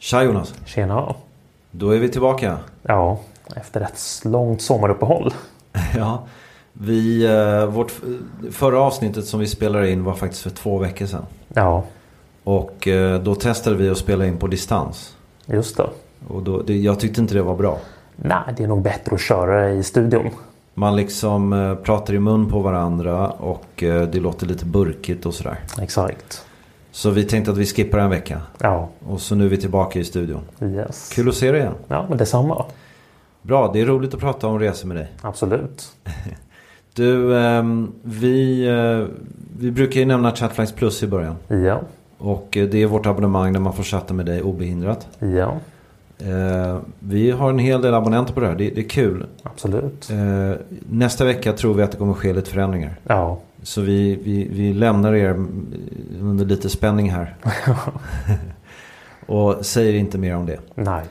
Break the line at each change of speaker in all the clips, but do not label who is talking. Tja Jonas,
Tjena.
då är vi tillbaka.
Ja, efter ett långt sommaruppehåll.
Ja, vi, eh, vårt förra avsnittet som vi spelade in var faktiskt för två veckor sedan.
Ja,
Och eh, då testade vi att spela in på distans.
just det.
Och då, det, jag tyckte inte det var bra.
Nej, det är nog bättre att köra i studion.
Man liksom eh, pratar i mun på varandra och eh, det låter lite burkigt och sådär.
Exakt.
Så vi tänkte att vi skippar en vecka.
Ja,
Och så nu är vi tillbaka i studion.
yes.
Kul att se dig igen.
Ja, men detsamma.
Bra, det är roligt att prata om resor med dig.
Absolut.
Du, ehm, vi, eh, vi brukar ju nämna Chatflix Plus i början.
Ja,
Och eh, det är vårt abonnemang där man får chatta med dig obehindrat.
ja,
Eh, vi har en hel del abonnenter på det här. Det, det är kul.
absolut.
Eh, nästa vecka tror vi att det kommer ske lite förändringar.
Ja,
Så vi, vi, vi lämnar er under lite spänning här. och säger inte mer om det.
nej.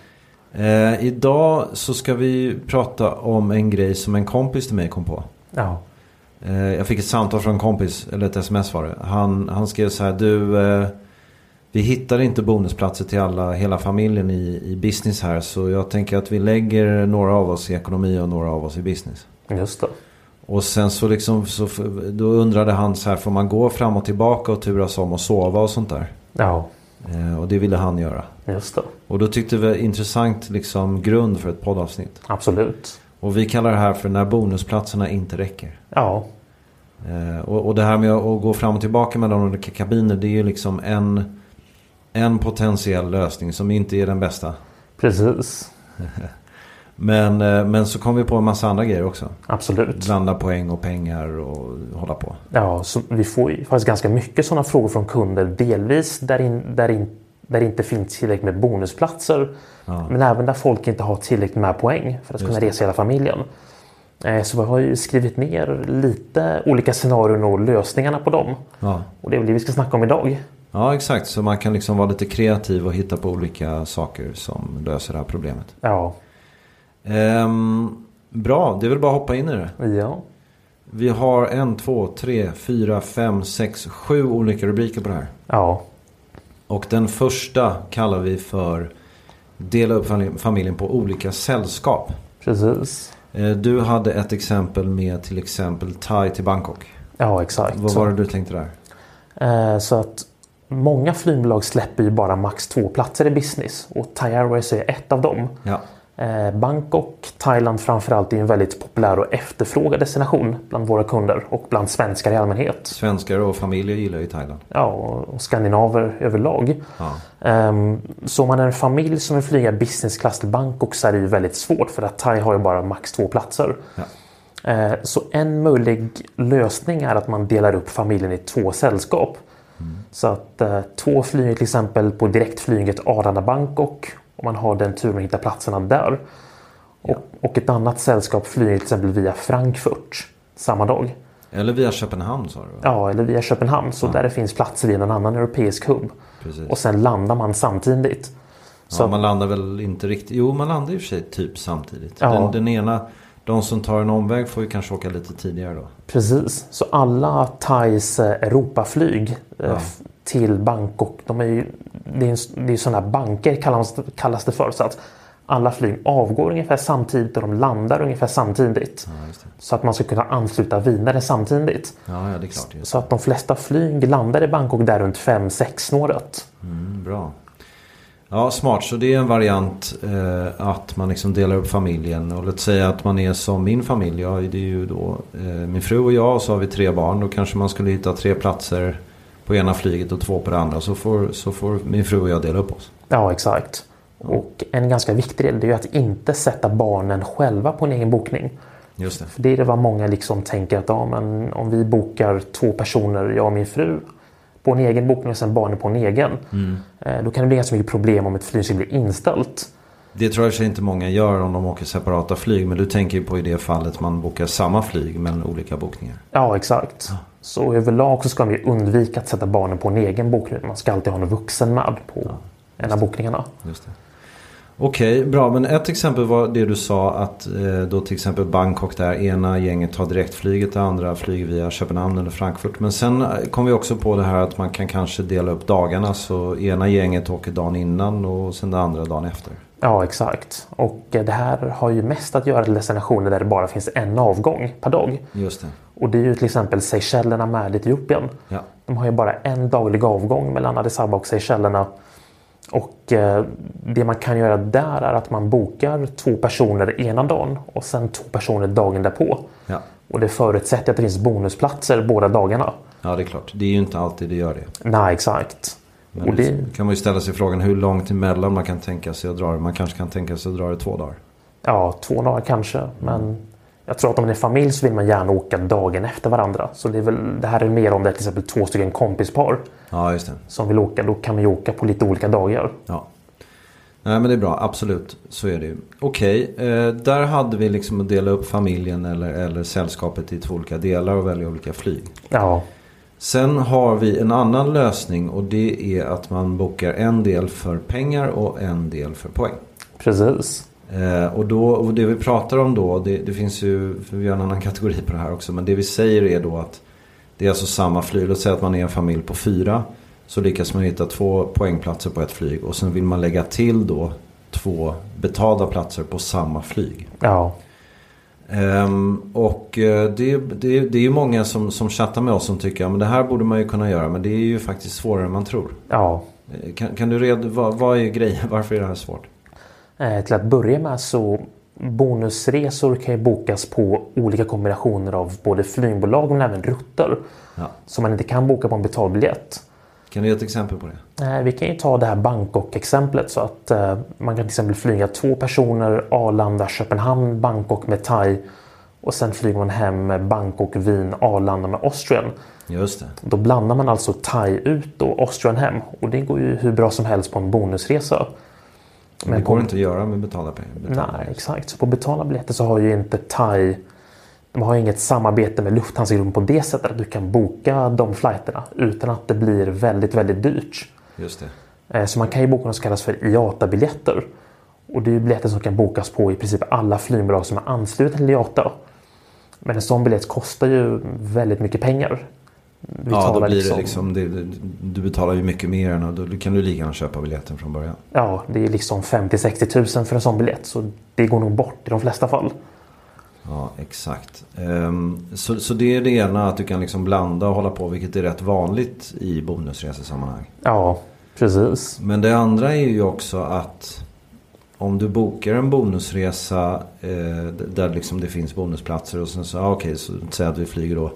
Eh, idag så ska vi prata om en grej som en kompis till mig kom på.
Ja,
Eh, Jag fick ett samtal från en kompis, eller ett sms var det. Han, han skrev så här, du, eh, vi hittar inte bonusplatser till alla, hela familjen i, i business här. Så jag tänker att vi lägger några av oss i ekonomi och några av oss i business.
just det.
Och sen så liksom, så, f- då undrade han så här, får man gå fram och tillbaka och turas om och sova och sånt där?
Ja,
Eh, Och det ville han göra.
just det.
Och då tyckte vi intressant liksom grund för ett poddavsnitt.
Absolut.
Och vi kallar det här för när bonusplatserna inte räcker.
Ja,
Eh, och, och det här med att att gå fram och tillbaka mellan olika kabiner det är ju liksom en, en potentiell lösning som inte är den bästa.
precis.
Men, eh, men så kom vi på en massa andra grejer också.
Absolut.
Blanda poäng och pengar och hålla på.
Ja, så vi får ju faktiskt ganska mycket sådana frågor från kunder. Delvis där, in, där, in, där det inte finns tillräckligt med bonusplatser. Men även där folk inte har tillräckligt med poäng för att kunna resa hela familjen. Eh, Så vi har ju skrivit ner lite olika scenarion och lösningarna på dem.
Ja.
Och det är väl det vi ska snacka om idag.
ja, exakt. Så man kan liksom vara lite kreativ och hitta på olika saker som löser det här problemet.
Ja,
Ehm, bra, det är väl bara att hoppa in i det.
ja,
Vi har en, två, tre, fyra, fem, sex, sju olika rubriker på det här.
ja,
Och den första kallar vi för Dela upp famil- familjen på olika sällskap.
precis.
Eh, Du hade ett exempel med till exempel Thai till Bangkok.
Ja, exakt.
Vad var det du tänkte där?
Eh, Så att många flygbolag släpper ju bara max två platser i business och Thai Airways är ett av dem.
Ja,
Eh, Bangkok, Thailand framförallt är ju en väldigt populär och efterfrågad destination bland våra kunder och bland svenskar i allmänhet.
svenskar och familjer gillar ju Thailand.
Ja, och och skandinaver överlag.
Ja,
Ehm, Så om man är en familj som vill flyga business class till Bangkok så är det ju väldigt svårt för att Thai har ju bara max två platser.
ja.
Eh, Så en möjlig lösning är att man delar upp familjen i två sällskap.
Mm.
Så att eh, två flyger till exempel på direktflyget Arlanda-Bangkok och man har den turen att hitta platserna där. Och, och ett annat sällskap flyger till exempel via Frankfurt samma dag.
Eller via Köpenhamn sa du? va?
Ja, eller via Köpenhamn. Så där det finns platser i någon annan europeisk hubb.
Precis.
Och sen landar man samtidigt. Så
ja,
att-
man landar väl inte riktigt. Jo, man landar i och för sig typ samtidigt.
Ja.
Den, den ena, de som tar en omväg får ju kanske åka lite tidigare då.
Precis, så alla Thais eh, Europaflyg eh, f- till Bangkok, de är ju, det är ju s- det är ju sådana här banker kallas, kallas det för. Så att alla flyg avgår ungefär samtidigt och de landar ungefär samtidigt.
Ja, just det.
Så att man ska kunna ansluta vidare samtidigt.
Ja, ja, det är klart. Just.
Så att de flesta flyg landar i Bangkok där runt 5-6-snåret.
Mm, bra. Ja, smart. Så det är en variant eh, att man liksom delar upp familjen. Och låt säga att man är som min familj. Jag, det är ju då eh, min fru och jag och så har vi tre barn. Då kanske man skulle hitta tre platser på ena flyget och två på det andra. Så får, så får min fru och jag dela upp oss.
Ja, exakt. Och en ganska viktig del det är ju att inte sätta barnen själva på en egen bokning.
Just det.
För det är det vad många liksom tänker att ja, men om vi bokar två personer, jag och min fru, på en egen bokning och sen barnen på en egen. eh, Då kan det bli ganska mycket problem om ett flyg skulle bli inställt.
Det tror jag i och för sig inte många gör om de åker separata flyg. Men du tänker ju på i det fallet man bokar samma flyg men olika bokningar.
Ja, exakt. Så överlag så ska man ju undvika att sätta barnen på en egen bokning. Man ska alltid ha någon vuxen med på en av bokningarna.
Just det. Okej, bra. Men ett exempel var det du sa att eh, då till exempel Bangkok där ena gänget tar direktflyget, det andra flyger via Köpenhamn eller Frankfurt. Men sen eh, kom vi också på det här att man kan kanske dela upp dagarna så ena gänget åker dagen innan och sen det andra dagen efter.
Ja, exakt. Och eh, det här har ju mest att göra till destinationer där det bara finns en avgång per dag.
Just det.
Och det är ju till exempel Seychellerna med Etiopien.
Ja.
De har ju bara en daglig avgång mellan Addis Abeba och Seychellerna. Och eh, det man kan göra där är att man bokar två personer ena dagen och sen två personer dagen därpå.
Ja.
Och det förutsätter att det finns bonusplatser båda dagarna.
ja, det är klart. Det är ju inte alltid det gör det.
Nej, exakt. Och
Men
det,
det kan man ju ställa sig frågan hur långt emellan man kan tänka sig att dra det. Man kanske kan tänka sig att dra det två dagar.
ja, två dagar kanske. Men jag tror att om det är familj så vill man gärna åka dagen efter varandra. Så det, är väl, det här är mer om det är till exempel två stycken kompispar
Ja, just det.
som vill åka. Då kan vi åka på lite olika dagar.
Ja. Nej men det är bra, absolut. Så är det ju. Okej, eh, där hade vi liksom att dela upp familjen eller, eller sällskapet i två olika delar och välja olika flyg.
Ja,
Sen har vi en annan lösning och det är att man bokar en del för pengar och en del för poäng.
precis.
Eh, och, då, och det vi pratar om då, det, det finns ju, för vi har en annan kategori på det här också, men det vi säger är då att det är alltså samma flyg. Låt säga att man är en familj på fyra. Så lyckas man hitta två poängplatser på ett flyg och sen vill man lägga till då två betalda platser på samma flyg.
Ja,
Ehm, och eh, det, det, det är ju många som, som chattar med oss som tycker att det här borde man ju kunna göra men det är ju faktiskt svårare än man tror.
ja.
Eh, Kan, kan du reda, vad, vad är grejen, varför är det här svårt?
Eh, Till att börja med så bonusresor kan ju bokas på olika kombinationer av både flygbolag men även rutter
Ja.
som man inte kan boka på en betalbiljett.
Kan du ge ett exempel på det?
Eh, Vi kan ju ta det här Bangkok-exemplet så att eh, man kan till exempel flyga två personer Arlanda, Köpenhamn, Bangkok med Thai och sen flyger man hem med Bangkok, Wien, Arlanda med Austrian.
Just det.
Då blandar man alltså thai ut och Austrian hem och det går ju hur bra som helst på en bonusresa.
Men det går inte att göra med betalda pengar. Betalda
Nej,
pengar.
exakt. Så på betalda biljetter så har ju inte Thai de har ju inget samarbete med Lufthansa-gruppen på det sättet att du kan boka de flighterna utan att det blir väldigt, väldigt dyrt.
Just det.
Eh, Så man kan ju boka något som kallas för IATA-biljetter. Och det är ju biljetter som kan bokas på i princip alla flygbolag som är anslutna till IATA. Men en sån biljett kostar ju väldigt mycket pengar. Vi
ja, då
talar
blir det liksom, det, det- du betalar ju mycket mer än och då kan du lika gärna köpa biljetten från början.
Ja, det är liksom 50-60 000 för en sån biljett så det går nog bort i de flesta fall.
Ja, exakt. Ehm, så, så det är det ena, att du kan liksom blanda och hålla på, vilket är rätt vanligt i bonusresesammanhang.
Ja, precis.
Men det andra är ju också att om du bokar en bonusresa eh, d- där liksom det finns bonusplatser och sen så, ja, okej, så säg att vi flyger då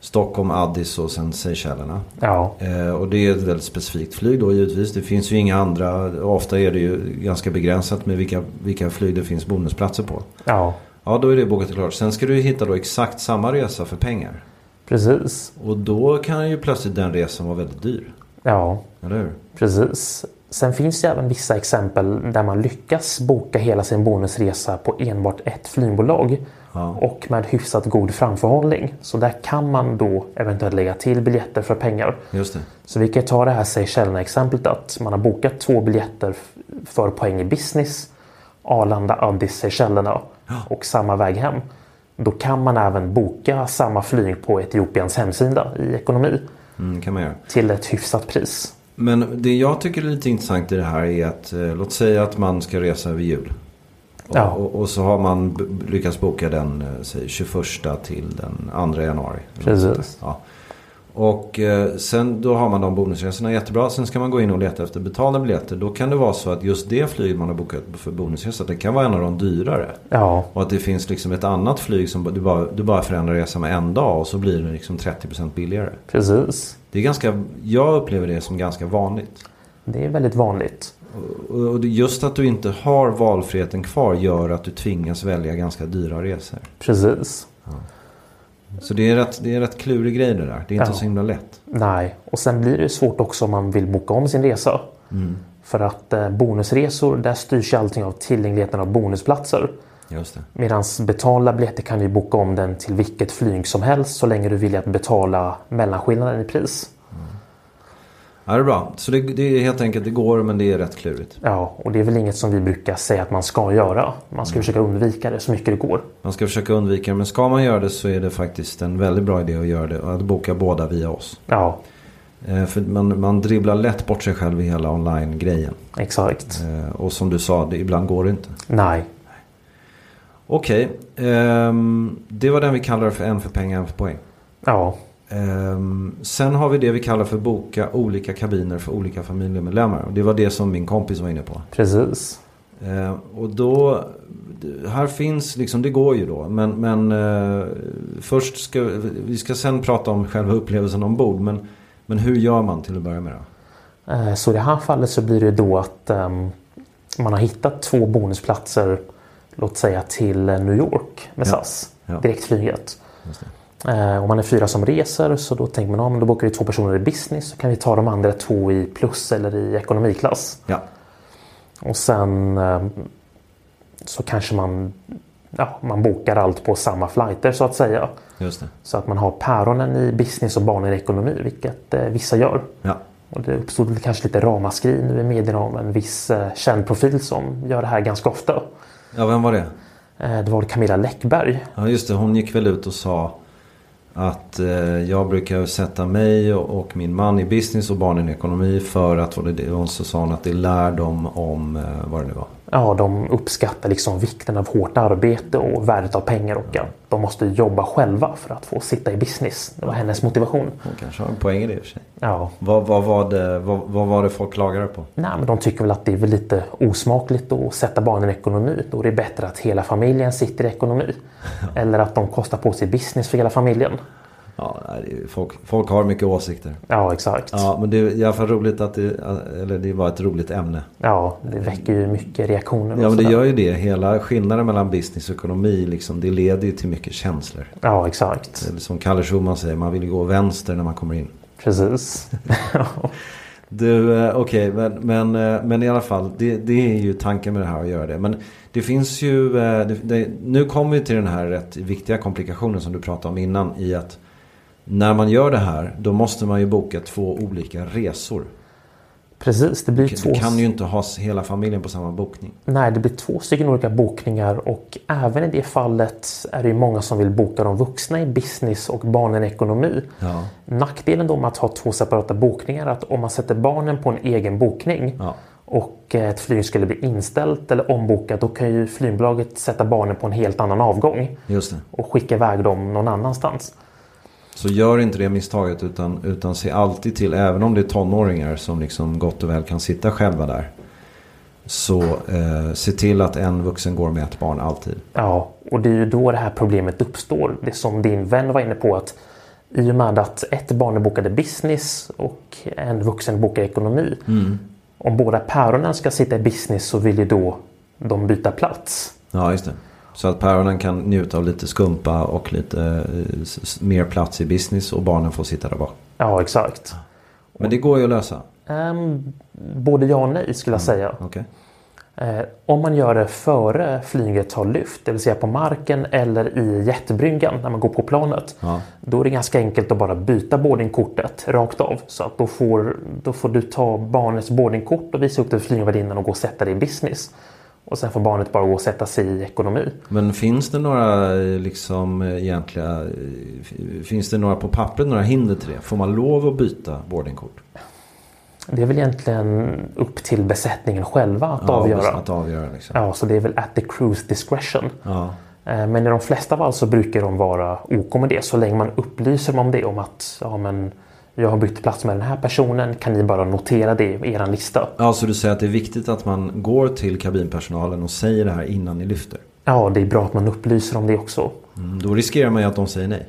Stockholm, Addis och sen Seychellerna.
Ja,
Eh, Och det är ett väldigt specifikt flyg då givetvis. Det finns ju inga andra. Ofta är det ju ganska begränsat med vilka, vilka flyg det finns bonusplatser på.
ja.
Ja, då är det bokat och klart. Sen ska du ju hitta då exakt samma resa för pengar.
Precis.
Och då kan ju plötsligt den resan vara väldigt dyr.
Ja,
Eller hur?
precis. Sen finns det även vissa exempel där man lyckas boka hela sin bonusresa på enbart ett flygbolag och med hyfsat god framförhållning. Så där kan man då eventuellt lägga till biljetter för pengar.
Just det.
Så vi kan ju ta det här Seychellerna-exemplet att man har bokat två biljetter f- för poäng i business. Arlanda, Addis, Seychellerna och samma väg hem. Då kan man även boka samma flyg på Etiopiens hemsida i ekonomi
Mm, kan man göra.
till ett hyfsat pris.
Men det jag tycker är lite intressant i det här är att eh, låt säga att man ska resa över jul. Och,
Ja.
och, och så har man b- b- lyckats boka den eh, säg, 21 till den 2 januari.
Precis.
Ja. Och eh, sen då har man de bonusresorna jättebra. Sen ska man gå in och leta efter betalda biljetter. Då kan det vara så att just det flyg man har bokat för bonusresa det kan vara en av de dyrare.
Ja,
Och att det finns liksom ett annat flyg som du bara, du bara förändrar resan med en dag och så blir det liksom 30% billigare.
precis.
Det är ganska, jag upplever det som ganska vanligt.
Det är väldigt vanligt.
Och och det- just att du inte har valfriheten kvar gör att du tvingas välja ganska dyra resor.
Precis.
Så det är rätt, det är rätt klurig grej det där. Det är inte
Ja.
så himla lätt.
Nej, och sen blir det ju svårt också om man vill boka om sin resa. För att eh, bonusresor, där styrs ju allting av tillgängligheten av bonusplatser.
Just det.
Medan betalda biljetter kan du boka om den till vilket flyg som helst så länge du vill att betala mellanskillnaden i pris.
Ja, det är bra. Så det, det är helt enkelt, det går men det är rätt klurigt.
Ja, och det är väl inget som vi brukar säga att man ska göra. Man ska försöka undvika det så mycket det går.
Man ska försöka undvika det. Men ska man göra det så är det faktiskt en väldigt bra idé att göra det. Att boka båda via oss.
Ja,
Eh, för man, man dribblar lätt bort sig själv i hela online-grejen.
exakt.
Eh, och som du sa, det, ibland går det inte.
Nej,
Okej, ehm, det var den vi kallar för en för pengar, en för poäng.
ja,
Ehm, sen har vi det vi kallar för boka olika kabiner för olika familjemedlemmar. Och det var det som min kompis var inne på.
precis.
Ehm, och då, här finns liksom, det går ju då. Men, men eh, först ska, vi ska sen prata om själva upplevelsen ombord. Men, men hur gör man till att börja med då?
Eh, Så i det här fallet så blir det då att ehm, man har hittat två bonusplatser, låt säga till eh, New York med SAS,
ja.
direktflyget. Eh, Om man är fyra som reser så då tänker man att då bokar vi två personer i business så kan vi ta de andra två i plus eller i ekonomiklass.
Ja,
Och sen ehm, så kanske man, ja, man bokar allt på samma flighter så att säga.
just det.
Så att man har päronen i business och barnen i ekonomi, vilket eh, vissa gör.
Ja,
Och det uppstod väl kanske lite ramaskri nu i medierna om en viss eh, känd profil som gör det här ganska ofta.
ja vem var det?
Eh, det var Camilla Läckberg.
Ja just det, hon gick väl ut och sa att eh, jag brukar sätta mig och, och min man i business och barnen i ekonomi för att, vad det- det, och så sa hon att det lär dem om eh, vad det nu var.
Ja, de uppskattar liksom vikten av hårt arbete och värdet av pengar och att de måste jobba själva för att få sitta i business. Det var hennes motivation.
Hon kanske har en poäng i det i och för sig.
Ja.
Vad, vad, var det, vad, vad var det folk klagade på?
Nej, men de tycker väl att det är väl lite osmakligt att sätta barnen i ekonomi. Då är det bättre att hela familjen sitter i ekonomi. Eller att de kostar på sig business för hela familjen.
Ja, nej, det är- folk, folk har mycket åsikter.
Ja, exakt.
Ja, men det är i alla fall roligt att det, eller det var ett roligt ämne.
Ja, det väcker ju mycket reaktioner. och
Ja men det
sådär.
gör ju det. Hela skillnaden mellan business och ekonomi liksom, det leder ju till mycket känslor.
Ja, exakt.
Eller som Kalle Schulman säger, man vill ju gå vänster när man kommer in.
Precis.
Du, eh, okej, men, men, eh, men i alla fall, det, det är ju tanken med det här att göra det. Men det finns ju, eh, det, det, nu kommer vi till den här rätt viktiga komplikationen som du pratade om innan i att när man gör det här, då måste man ju boka två olika resor.
Precis, det blir två...
Du kan ju inte ha s- hela familjen på samma bokning.
Nej, det blir två stycken olika bokningar och även i det fallet är det ju många som vill boka de vuxna i business och barnen i ekonomi.
Ja.
Nackdelen då med att ha två separata bokningar är att om man sätter barnen på en egen bokning
Ja.
och eh, ett flyg skulle bli inställt eller ombokat då kan ju flygbolaget sätta barnen på en helt annan avgång
Just det.
och skicka iväg dem någon annanstans.
Så gör inte det misstaget utan, utan se alltid till, även om det är tonåringar som liksom gott och väl kan sitta själva där. Så eh, se till att en vuxen går med ett barn alltid.
Ja, och det är ju då det här problemet uppstår. Det som din vän var inne på att i och med att ett barn är bokade business och en vuxen bokar ekonomi. Om båda päronen ska sitta i business så vill ju då de byta plats.
Ja, just det. Så att päronen kan njuta av lite skumpa och lite eh, s- s- mer plats i business och barnen får sitta där bak.
Ja, exakt.
Men det går ju att lösa.
Ehm, både ja och nej skulle jag säga.
Okej.
Eh, om man gör det före flyget tar lyft, det vill säga på marken eller i jetbryggan när man går på planet.
Ja.
Då är det ganska enkelt att bara byta boardingkortet rakt av. Så att då, får, då får du ta barnets boardingkort och visa upp det för flygvärdinnan och gå och sätta det i business. Och sen får barnet bara gå och sätta sig i ekonomi.
Men finns det några eh, liksom eh, egentliga... eh, f- Finns det några på pappret, några hinder till det? Får man lov att byta boardingkort?
Det är väl egentligen upp till besättningen själva att avgöra.
Att avgöra liksom.
Ja, så det är väl at the cruise discretion.
Ja.
Eh, Men i de flesta fall så brukar de vara OK med det så länge man upplyser om det om att ja, men jag har bytt plats med den här personen. Kan ni bara notera det i er lista?
Ja, så du säger att det är viktigt att man går till kabinpersonalen och säger det här innan ni lyfter.
Ja, det är bra att man upplyser om det också.
Mm, Då riskerar man ju att de säger nej.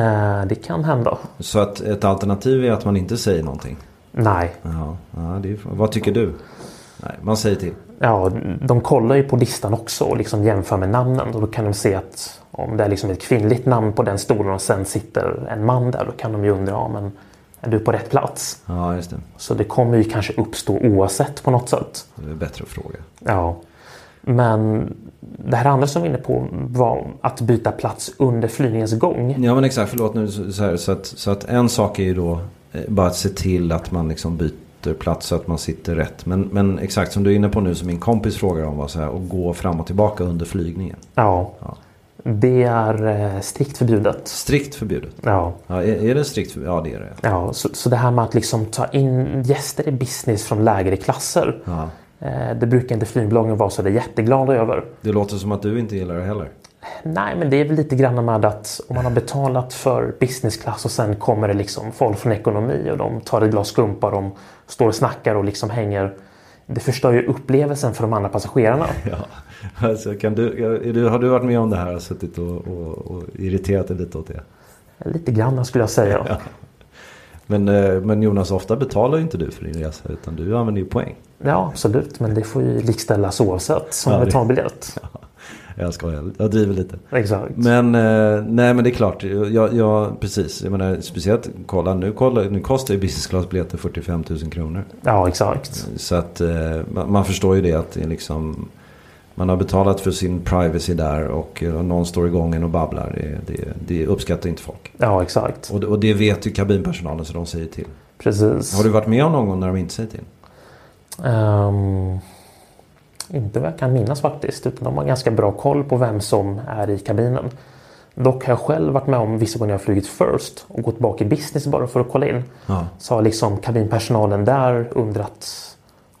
Eh, Det kan hända.
Så att ett alternativ är att man inte säger någonting.
Nej,
Ja, ja det är, vad tycker du? Nej, man säger till.
ja, de kollar ju på listan också och liksom jämför med namnen och då kan de se att om det är liksom ett kvinnligt namn på den stolen och sen sitter en man där då kan de ju undra ja, men är du på rätt plats?
Ja, just det.
Så det kommer ju kanske uppstå oavsett på något sätt.
Det är bättre att fråga.
Ja. Men det här andra som vi var inne på var att byta plats under flygningens gång.
Ja men exakt, förlåt nu. Så, så, här, så, att, så att en sak är ju då eh, bara att se till att man liksom byter plats så att man sitter rätt. Men, men exakt som du är inne på nu som min kompis frågar om var så här att gå fram och tillbaka under flygningen.
Ja.
Ja.
Det är eh, strikt förbjudet.
Strikt förbjudet.
Ja.
Ja, är, är det strikt förbjudet? Ja det är det.
Ja, så, så det här med att liksom ta in gäster i business från lägre klasser.
Ja.
Eh, det brukar inte flygbolagen vara så där jätteglada över.
Det låter som att du inte gillar det heller.
Nej, men det är väl lite grann med att om man har betalat för businessklass och sen kommer det liksom folk från ekonomi och de tar ett glas skumpa, de står och snackar och liksom hänger. Det förstör ju upplevelsen för de andra passagerarna.
Ja. Alltså, kan du, är du, har du varit med om det här och suttit och, och, och irriterat dig lite åt det?
Lite grann skulle jag säga. Ja,
Men, eh, men Jonas, ofta betalar ju inte du för din resa utan du använder ju poäng.
absolut, men det får ju likställas oavsett som
Ja, det-
betalbiljett.
Jag skojar, jag driver lite.
Exakt.
Men, eh, nej men det är klart, jag, jag, precis. Jag menar, speciellt, kolla nu, kolla, nu kostar ju business class-biljetter 45 000 kronor.
Ja, exakt.
Så att eh, man, man förstår ju det att det är liksom, man har betalat för sin privacy där och eh, någon står i gången och babblar. Det, det, det uppskattar inte folk.
Ja, exakt.
Och, det- och det vet ju kabinpersonalen så de säger till.
Precis.
Har du varit med om någon gång när de inte säger till?
Ehm, inte vad jag kan minnas faktiskt. Utan de har ganska bra koll på vem som är i kabinen. Dock har jag själv varit med om vissa gånger jag har flugit first och gått bak i business bara för att kolla in.
Ja.
Så har liksom kabinpersonalen där undrat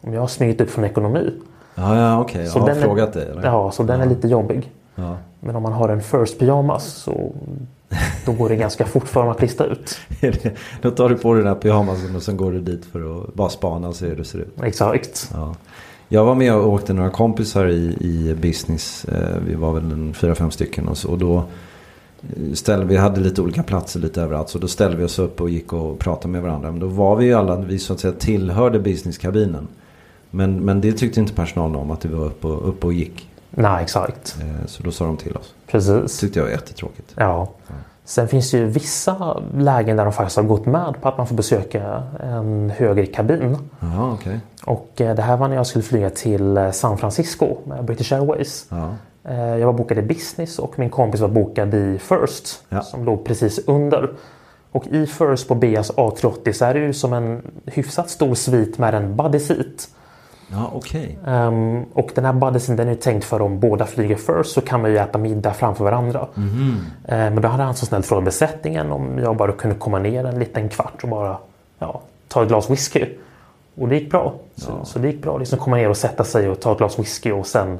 om jag har smugit upp från ekonomi.
Ja, ja okej.
Så
Jag har
den är-
frågat dig eller?
Ja, så den är lite jobbig.
ja.
Men om man har en first pyjamas så då går det ganska fort för dem att lista ut.
Då tar du på dig den här pyjamasen och sen går du dit för att bara spana och se hur det ser ut.
Exakt.
Ja. Jag var med och åkte några kompisar i, i business. Eh, Vi var väl en fyra, fem stycken. Och, så, och då eh, ställde vi, hade lite olika platser lite överallt. Så då ställde vi oss upp och gick och pratade med varandra. Men då var vi ju alla, vi så att säga tillhörde businesskabinen. Men, men det tyckte inte personalen om att vi var uppe och, uppe och gick.
Nej, exakt.
Eh, Så då sa de till oss.
Precis.
tyckte jag var jättetråkigt.
Ja. Sen finns det ju vissa lägen där de faktiskt har gått med på att man får besöka en högre kabin.
Jaha, okej.
Och eh, det här var när jag skulle flyga till eh, San Francisco med British Airways.
Ja.
Eh, Jag var bokad i business och min kompis var bokad i First
Ja.
som låg precis under. Och i First på Beas A380 så är det ju som en hyfsat stor svit med en buddy seat.
Ja, okej.
Ehm, och den här buddisen den är ju tänkt för om båda flyger first så kan man ju äta middag framför varandra. Ehm, men då hade han så snällt frågat besättningen om jag bara kunde komma ner en liten kvart och bara ja, ta ett glas whisky. Och det gick bra. Så, så det gick bra liksom komma ner och sätta sig och ta ett glas whisky och sen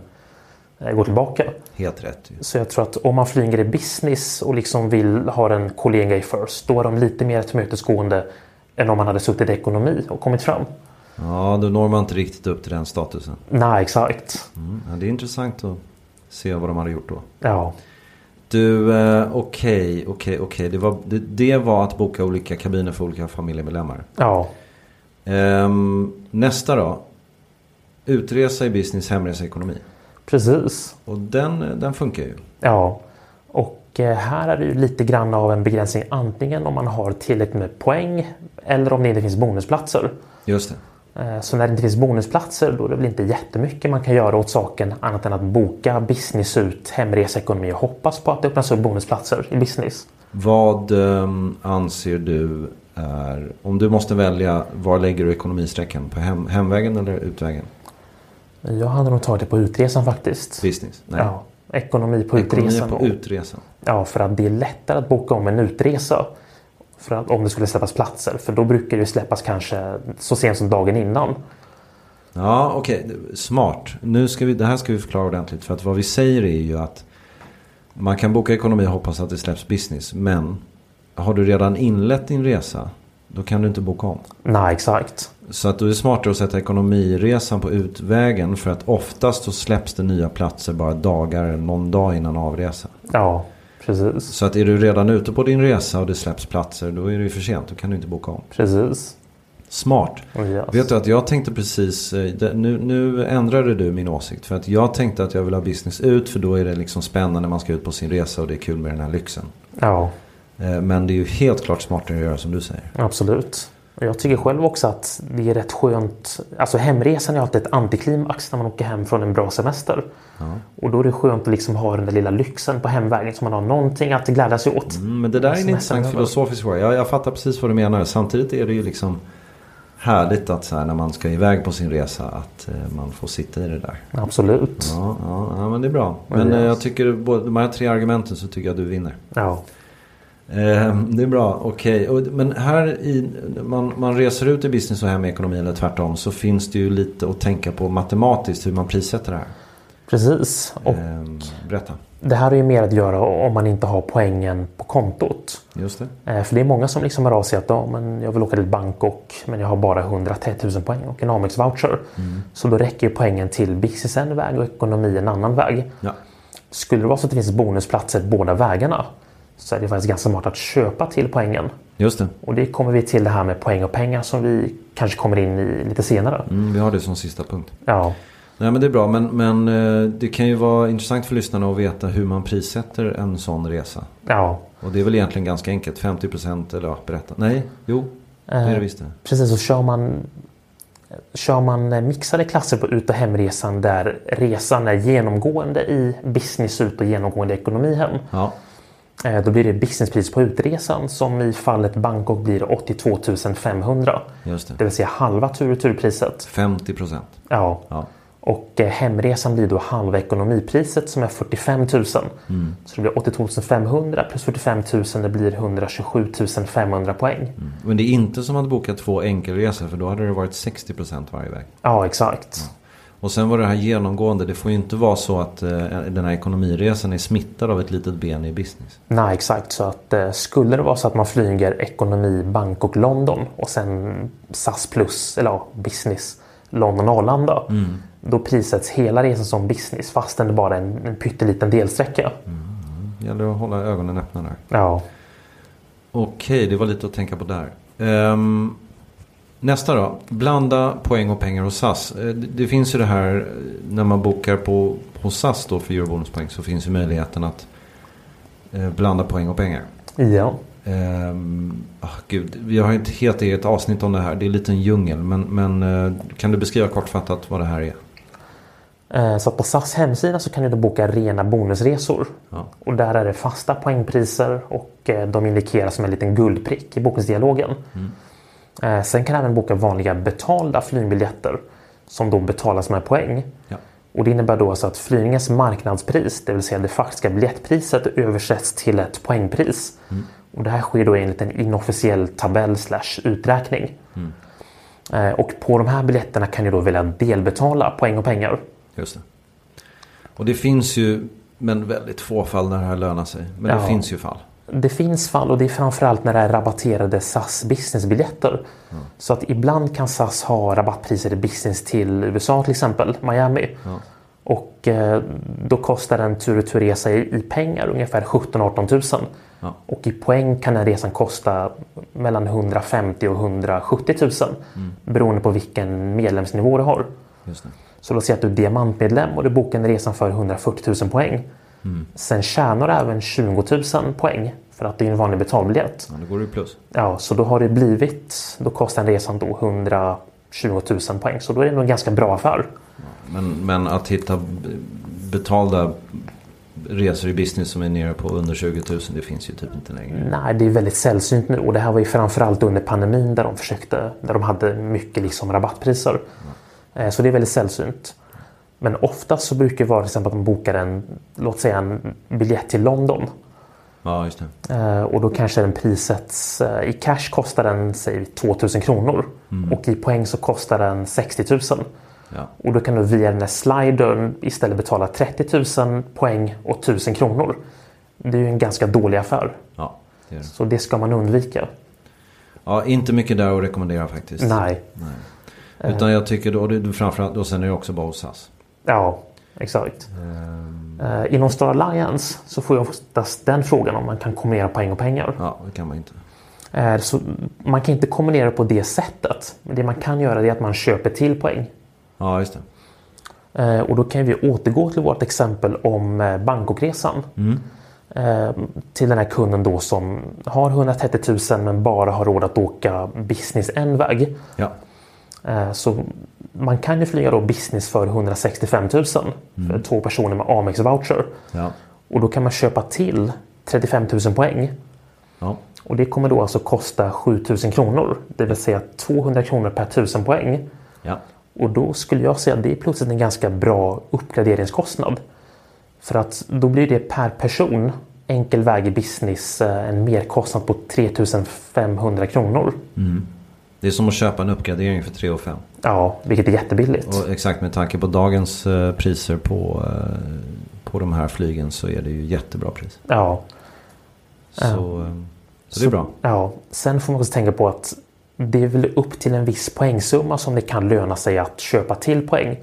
eh, gå tillbaka.
Helt rätt ju.
Så jag tror att om man flyger i business och liksom vill ha en kollega i first då är de lite mer tillmötesgående än om man hade suttit i ekonomi och kommit fram.
Ja, då når man inte riktigt upp till den statusen.
Nej, exakt.
Mm. Ja, det är intressant att se vad de hade gjort då.
Ja.
Du, eh, okej, okej, okej. Det var, det, det var att boka olika kabiner för olika familjemedlemmar.
ja.
Ehm, nästa då. Utresa i business, hemresa i ekonomi.
Precis.
Och den, den funkar ju.
Ja. Och eh, här är det ju lite grann av en begränsning antingen om man har tillräckligt med poäng eller om det inte finns bonusplatser.
Just det.
Eh, Så när det inte finns bonusplatser då är det väl inte jättemycket man kan göra åt saken annat än att boka business ut, hemreseekonomi och hoppas på att det öppnas upp bonusplatser i business.
Vad ehm, anser du är, om du måste välja, var lägger du ekonomistrecken? På hem, hemvägen eller utvägen?
Jag hade nog tagit det på utresan faktiskt.
Business? Nej.
Ja, ekonomi på
Ekonomi
utresan.
på utresan.
Ja, för att det är lättare att boka om en utresa för att, om det skulle släppas platser. För då brukar det ju släppas kanske så sent som dagen innan.
Ja, okej. Smart. Nu ska vi, det här ska vi förklara ordentligt. För att vad vi säger är ju att man kan boka ekonomi och hoppas att det släpps business. Men har du redan inlett din resa, då kan du inte boka om.
Nej, exakt.
Så att då är det smartare att sätta ekonomiresan på utvägen. För att oftast så släpps det nya platser bara dagar eller någon dag innan avresa.
Ja, precis.
Så att är du redan ute på din resa och det släpps platser, då är det ju för sent. Då kan du inte boka om.
Precis.
Smart.
Yes.
Vet du att jag tänkte precis, eh, det- nu, nu ändrade du min åsikt. För att jag tänkte att jag vill ha business ut för då är det liksom spännande man ska ut på sin resa och det är kul med den här lyxen.
Ja,
Eh, Men det är ju helt klart smartare att göra som du säger.
absolut. Och jag tycker själv också att det är rätt skönt. Alltså hemresan är alltid ett antiklimax när man åker hem från en bra semester. Och då är det skönt att liksom ha den där lilla lyxen på hemvägen så man har någonting att glädja sig åt.
Mm, Men det där är en
Semestern
intressant
över.
filosofisk fråga. Jag, jag fattar precis vad du menar. Samtidigt är det ju liksom härligt att så här, när man ska iväg på sin resa att eh, man får sitta i det där.
Absolut.
Ja, ja, ja men det är bra. Men eh, jag tycker både de här tre argumenten så tycker jag att du vinner.
Ja.
Eh, Det är bra, okej. Och- Men här i, man, man reser ut i business och hem i ekonomi eller tvärtom så finns det ju lite att tänka på matematiskt hur man prissätter det här.
Precis. Och
Ehm, Berätta.
Det här är ju mer att göra om man inte har poängen på kontot.
Just det.
Eh, För det är många som liksom hör av sig att ja, men jag vill åka till Bangkok men jag har bara 130 000 poäng och en Amex-voucher. Så då räcker ju poängen till business en väg och ekonomi en annan väg.
Ja.
Skulle det vara så att det finns bonusplatser båda vägarna så är det faktiskt ganska smart att köpa till poängen.
Just det.
Och det kommer vi till det här med poäng och pengar som vi kanske kommer in i lite senare.
Mm, vi har det som sista punkt.
Ja,
Nej men det är bra. Men, men eh, det kan ju vara intressant för lyssnarna att veta hur man prissätter en sån resa.
ja,
Och det är väl egentligen ganska enkelt. 50% eller ja, berätta. Nej, jo. Det är det visst det.
Precis, och kör man, kör man eh, mixade klasser på ut och hemresan där resan är genomgående i business ut och genomgående ekonomi hem.
Ja,
eh, Då blir det businesspris på utresan som i fallet Bangkok blir 82 500.
just
Det
det.
vill säga halva tur och turpriset.
50%.
Ja.
Ja.
Och eh, hemresan blir då halva ekonomipriset som är 45 000.
Mm.
Så det blir 82 500 plus 45 000 det blir 127 500 poäng.
Mm. Men det är inte som att boka två enkelresor för då hade det varit 60% varje väg.
Ja, exakt.
Och sen var det här genomgående. Det får ju inte vara så att eh, den här ekonomiresan är smittad av ett litet ben i business.
Nej, exakt. Så att eh, skulle det vara så att man flyger ekonomi Bangkok, London och sen SAS plus, eller ja, business London, Arlanda. Då prissätts hela resan som business fastän det bara är en, en pytteliten delsträcka.
Det gäller att hålla ögonen öppna där.
Ja,
Okej, det var lite att tänka på där. Ehm, nästa då. Blanda poäng och pengar hos SAS. Eh, det, det finns ju det här eh, när man bokar på, på SAS då för eurobonuspoäng så finns ju möjligheten att eh, blanda poäng och pengar.
ja,
Ehm, ah, gud, vi har ett helt eget avsnitt om det här. Det är en liten djungel. Men, men eh, kan du beskriva kortfattat vad det här är?
Eh, Så att på SAS hemsida så kan du då boka rena bonusresor.
Ja.
Och där är det fasta poängpriser och eh, de indikeras som en liten guldprick i bokningsdialogen.
Mm.
Eh, Sen kan du även boka vanliga betalda flygbiljetter som då betalas med poäng.
Ja.
Och det innebär då alltså att flygningens marknadspris, det vill säga det faktiska biljettpriset, översätts till ett poängpris.
Mm.
Och det här sker då enligt en inofficiell tabell slash uträkning.
Mm.
Eh, Och på de här biljetterna kan du då välja delbetala poäng och pengar.
Just det. Och det finns ju, men väldigt få fall där det här lönar sig. Men det
Ja.
finns ju fall.
Det finns fall och det är framförallt när det är rabatterade SAS businessbiljetter. Så att ibland kan SAS ha rabattpriser i business till USA till exempel, Miami. Och eh, då kostar en tur och turresa i, i pengar ungefär 17-18 000.
Ja.
Och i poäng kan den resan kosta mellan 150 000 och 170 000 beroende på vilken medlemsnivå du har.
Just det.
Så låt säga att du är diamantmedlem och du bokar en resan för 140 000 poäng. Sen tjänar du även 20 000 poäng för att det är en vanlig betalbiljett.
Ja, då går det ju plus.
Ja, så då har det blivit, då kostar den resan då 100, 20 000 poäng. Så då är det nog en ganska bra affär.
Men, men att hitta betalda resor i business som är nere på under 20 000 det finns ju typ inte längre.
Nej, det är väldigt sällsynt nu och det här var ju framförallt under pandemin där de försökte, där de hade mycket liksom rabattpriser. Eh, Så det är väldigt sällsynt. Men oftast så brukar det vara till exempel att de bokar en, låt säga en biljett till London.
Ja, just det.
Eh, Och då kanske den prissätts, eh, i cash kostar den säg 2000 kronor och i poäng så kostar den 60 000.
Ja.
Och då kan du via den här slidern istället betala 30 000 poäng och 1000 kronor. Det är ju en ganska dålig affär.
Ja, det är det.
Så det ska man undvika.
ja, inte mycket där att rekommendera faktiskt.
Nej.
Utan jag tycker då, och det- du framförallt, och sen är det också bara hos SAS.
Ja, exakt. Eh, inom Star Alliance så får jag oftast den frågan om man kan kombinera poäng och pengar.
Ja, det kan man inte.
Eh, så man kan inte kombinera på det sättet. Men det man kan göra är att man köper till poäng.
Ja, just det.
Eh, Och då kan vi återgå till vårt exempel om eh, Bangkokresan. Eh, Till den här kunden då som har 130 000 men bara har råd att åka business en väg.
Ja,
Eh, Så man kan ju flyga då business för 165 000 för två personer med Amex voucher.
ja,
Och då kan man köpa till 35 000 poäng.
ja.
Och det kommer då alltså kosta 7 000 kronor. Det vill säga 200 kronor per 1000 poäng.
ja.
Och då skulle jag säga att det är plötsligt en ganska bra uppgraderingskostnad. För att då blir det per person enkel väg i business eh, en merkostnad på 3500 kronor.
Det är som att köpa en uppgradering för 3 och 5.
Ja, vilket är jättebilligt.
Och exakt med tanke på dagens eh, priser på, eh, på de här flygen så är det ju jättebra pris.
Ja,
Så, eh, så det är bra.
ja. Sen får man också tänka på att det är väl upp till en viss poängsumma som det kan löna sig att köpa till poäng.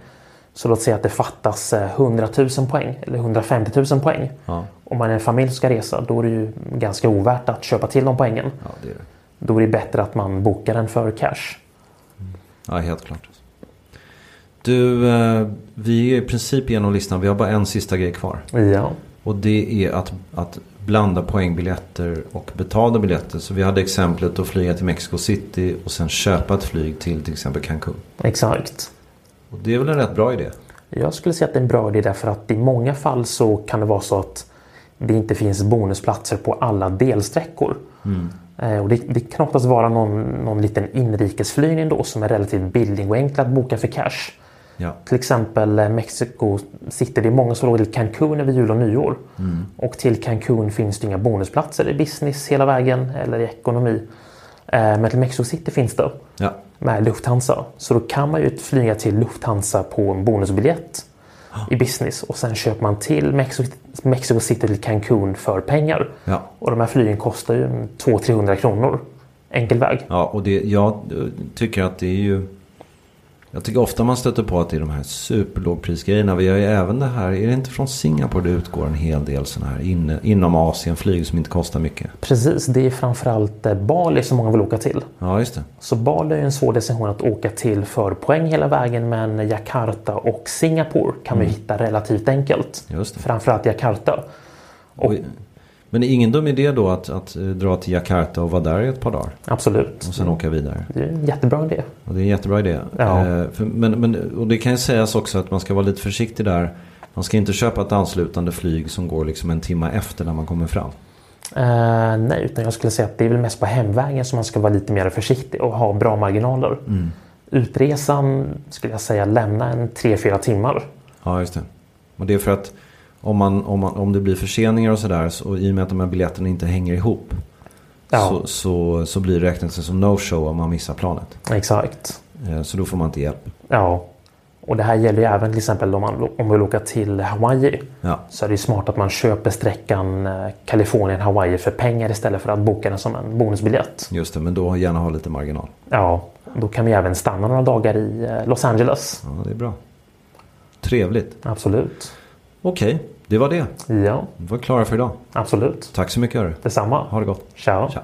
Så låt säga att det fattas eh, 100 000 poäng eller 150 000 poäng.
Ja,
Om man är en familj som ska resa då är det ju ganska ovärt att köpa till de poängen.
ja det är det.
Då är det bättre att man bokar den för cash.
Ja, helt klart. Du, eh, vi är i princip igenom listan. Vi har bara en sista grej kvar.
Ja,
Och det är att, att blanda poängbiljetter och betalda biljetter. Så vi hade exemplet att flyga till Mexico City och sen köpa ett flyg till till exempel Cancun.
exakt.
Och det är väl en rätt bra idé?
Jag skulle säga att det är en bra idé därför att i många fall så kan det vara så att det inte finns bonusplatser på alla delsträckor. Eh, Och det, det kan oftast vara någon, någon liten inrikesflygning då som är relativt billig och enkel att boka för cash.
Ja,
Till exempel eh, Mexico City, det är många som låg till Cancun över jul och nyår. Och till Cancun finns det inga bonusplatser i business hela vägen eller i ekonomi. Eh, Men till Mexico City finns det.
ja,
med Lufthansa. Så då kan man ju flyga till Lufthansa på en bonusbiljett i business och sen köper man till Mexico, Mexico City till Cancun för pengar.
ja.
Och de här flygen kostar ju en 200-300 kronor enkel väg.
Ja, och det, jag eh, tycker att det är ju... Jag tycker ofta man stöter på att det är de här superlågprisgrejerna. Vi har ju även det här, är det inte från Singapore det utgår en hel del sådana här in, inom Asien flyg som inte kostar mycket?
Precis, det är framförallt eh, Bali som många vill åka till.
Ja, just det.
Så Bali är ju en svår destination att åka till för poäng hela vägen men Jakarta och Singapore kan man ju hitta relativt enkelt.
Mm. Just det.
Framförallt Jakarta.
Och, men det är ingen dum idé då att, att eh, dra till Jakarta och vara där i ett par dagar
Absolut.
och sen åka vidare.
Det är ju en jättebra idé.
Och det är en jättebra idé.
Ja.
Eh, för, men, men, och det kan ju sägas också att man ska vara lite försiktig där. Man ska inte köpa ett anslutande flyg som går liksom en timme efter när man kommer fram.
Eh, nej, utan jag skulle säga att det är väl mest på hemvägen som man ska vara lite mer försiktig och ha bra marginaler. Utresan skulle jag säga lämna en 3-4 timmar.
Ja, just det. Och det är för att om, man, om, man, om det blir förseningar och sådär så, och i och med att de här biljetterna inte hänger ihop
Ja.
så, så, så blir det räknelsen som no-show om man missar planet.
Exakt.
Eh, Så då får man inte hjälp.
Ja. Och det här gäller ju även till exempel om man om vi vill åka till Hawaii.
Ja,
Så är det ju smart att man köper sträckan eh, Kalifornien-Hawaii för pengar istället för att boka den som en bonusbiljett.
just det. Men då gärna ha lite marginal.
Ja. Då kan vi även stanna några dagar i eh, Los Angeles.
Ja, det är bra. Trevligt.
Absolut.
Okej, det var det.
Ja,
Vi var klara för idag.
absolut.
Tack så mycket hörru.
Detsamma.
Ha det gott.
Ciao.
Ciao.